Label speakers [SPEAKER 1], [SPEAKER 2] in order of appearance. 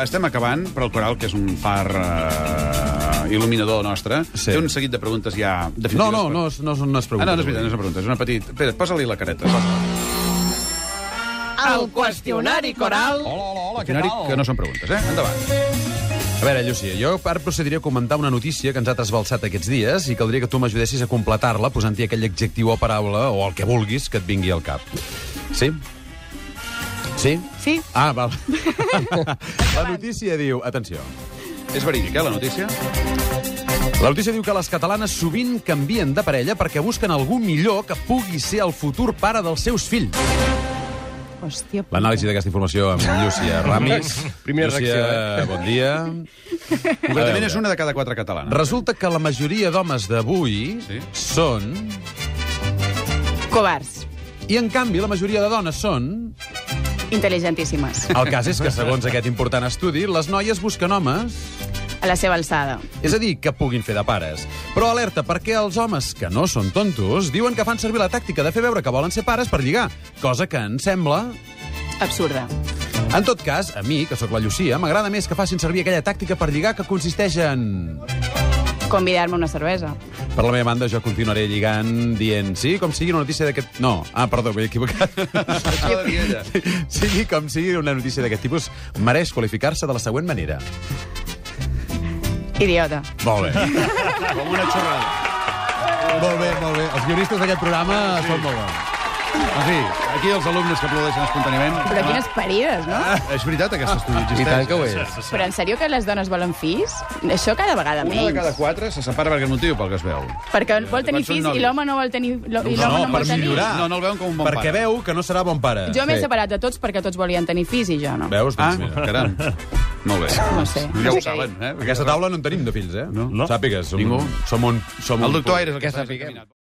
[SPEAKER 1] estem acabant, però el Coral, que és un far eh, il·luminador nostre,
[SPEAKER 2] Sí.
[SPEAKER 1] té un seguit de preguntes ja
[SPEAKER 2] No,
[SPEAKER 1] definitives.
[SPEAKER 2] no, no, és- no, és- no es
[SPEAKER 1] Ah, no,
[SPEAKER 2] pregunta.
[SPEAKER 1] no és veritat, no és una pregunta, és una petita... Espera, posa-li la careta. Hola,
[SPEAKER 3] El qüestionari coral.
[SPEAKER 2] hola, hola,
[SPEAKER 1] Que no són preguntes, eh? Endavant.
[SPEAKER 2] A veure, Llucia, jo ara procediré a comentar una notícia que ens ha trasbalsat aquests dies i caldria que tu m'ajudessis a completar-la posant-hi aquell adjectiu o paraula o el que vulguis que et vingui al cap. Sí? Sí?
[SPEAKER 3] Sí.
[SPEAKER 2] Ah, val. la notícia diu... Atenció.
[SPEAKER 1] És verídica, eh, la notícia?
[SPEAKER 2] La notícia diu que les catalanes sovint canvien de parella perquè busquen algú millor que pugui ser el futur pare dels seus fills.
[SPEAKER 3] Hòstia, puta.
[SPEAKER 2] L'anàlisi d'aquesta informació amb Llucia Ramis.
[SPEAKER 4] Primera
[SPEAKER 2] Llucia,
[SPEAKER 4] reacció,
[SPEAKER 2] bon dia.
[SPEAKER 1] Concretament és una de cada quatre catalana.
[SPEAKER 2] Resulta que la majoria d'homes d'avui
[SPEAKER 1] Sí.
[SPEAKER 2] sí. són...
[SPEAKER 3] Covards.
[SPEAKER 2] I, en canvi, la majoria de dones són...
[SPEAKER 3] Intel·ligentíssimes.
[SPEAKER 2] El cas és que, segons aquest important estudi, les noies busquen homes...
[SPEAKER 3] A la seva alçada.
[SPEAKER 2] És a dir, que puguin fer de pares. Però alerta, perquè els homes, que no són tontos, diuen que fan servir la tàctica de fer veure que volen ser pares per lligar, cosa que em sembla...
[SPEAKER 3] Absurda.
[SPEAKER 2] En tot cas, a mi, que sóc la Llucia, m'agrada més que facin servir aquella tàctica per lligar que consisteix en...
[SPEAKER 3] Convidar-me una cervesa.
[SPEAKER 2] Per la meva banda, jo continuaré lligant dient sí, com sigui una notícia d'aquest... No, ah, perdó, m'he equivocat.
[SPEAKER 1] Això de dir ella.
[SPEAKER 2] sigui com sigui una notícia d'aquest tipus, mereix qualificar-se de la següent manera.
[SPEAKER 3] Idiota.
[SPEAKER 2] Molt bé.
[SPEAKER 1] Com una xorrada.
[SPEAKER 2] molt bé, molt bé. Els guionistes d'aquest programa sí. són molt bons.
[SPEAKER 1] En fi, aquí els alumnes que aplaudeixen espontàniament...
[SPEAKER 3] Però quines parides, no?
[SPEAKER 1] És veritat, aquest estudi existeix.
[SPEAKER 4] I tant que ho és.
[SPEAKER 3] Però en sèrio que les dones volen fills? Això cada vegada
[SPEAKER 1] Una de
[SPEAKER 3] menys.
[SPEAKER 1] cada quatre se separa per aquest motiu, pel que es veu.
[SPEAKER 3] Perquè vol tenir
[SPEAKER 1] Quan són
[SPEAKER 3] fills i
[SPEAKER 1] nòvios.
[SPEAKER 3] l'home no vol tenir... lo-
[SPEAKER 2] No,
[SPEAKER 3] I l'home
[SPEAKER 2] no,
[SPEAKER 3] no,
[SPEAKER 2] per
[SPEAKER 3] vol tenir.
[SPEAKER 2] millorar.
[SPEAKER 1] No, no el veuen com un bon
[SPEAKER 2] Perquè
[SPEAKER 1] pare.
[SPEAKER 2] veu que no serà bon pare.
[SPEAKER 3] Jo m'he separat de tots perquè tots volien tenir fills i jo no.
[SPEAKER 2] Veus?
[SPEAKER 1] Ah,
[SPEAKER 2] Doncs mira.
[SPEAKER 1] caram. Molt bé.
[SPEAKER 3] No sé.
[SPEAKER 1] Ja
[SPEAKER 3] No
[SPEAKER 1] ho
[SPEAKER 3] sé.
[SPEAKER 1] saben, eh?
[SPEAKER 2] Aquesta taula no en tenim de fills, eh?
[SPEAKER 1] No.
[SPEAKER 2] Sàpigues, som,
[SPEAKER 1] Ningú.
[SPEAKER 2] som un... Som un
[SPEAKER 1] El doctor Aires, el que
[SPEAKER 4] Que
[SPEAKER 1] està
[SPEAKER 4] sapiguem.
[SPEAKER 1] caminant.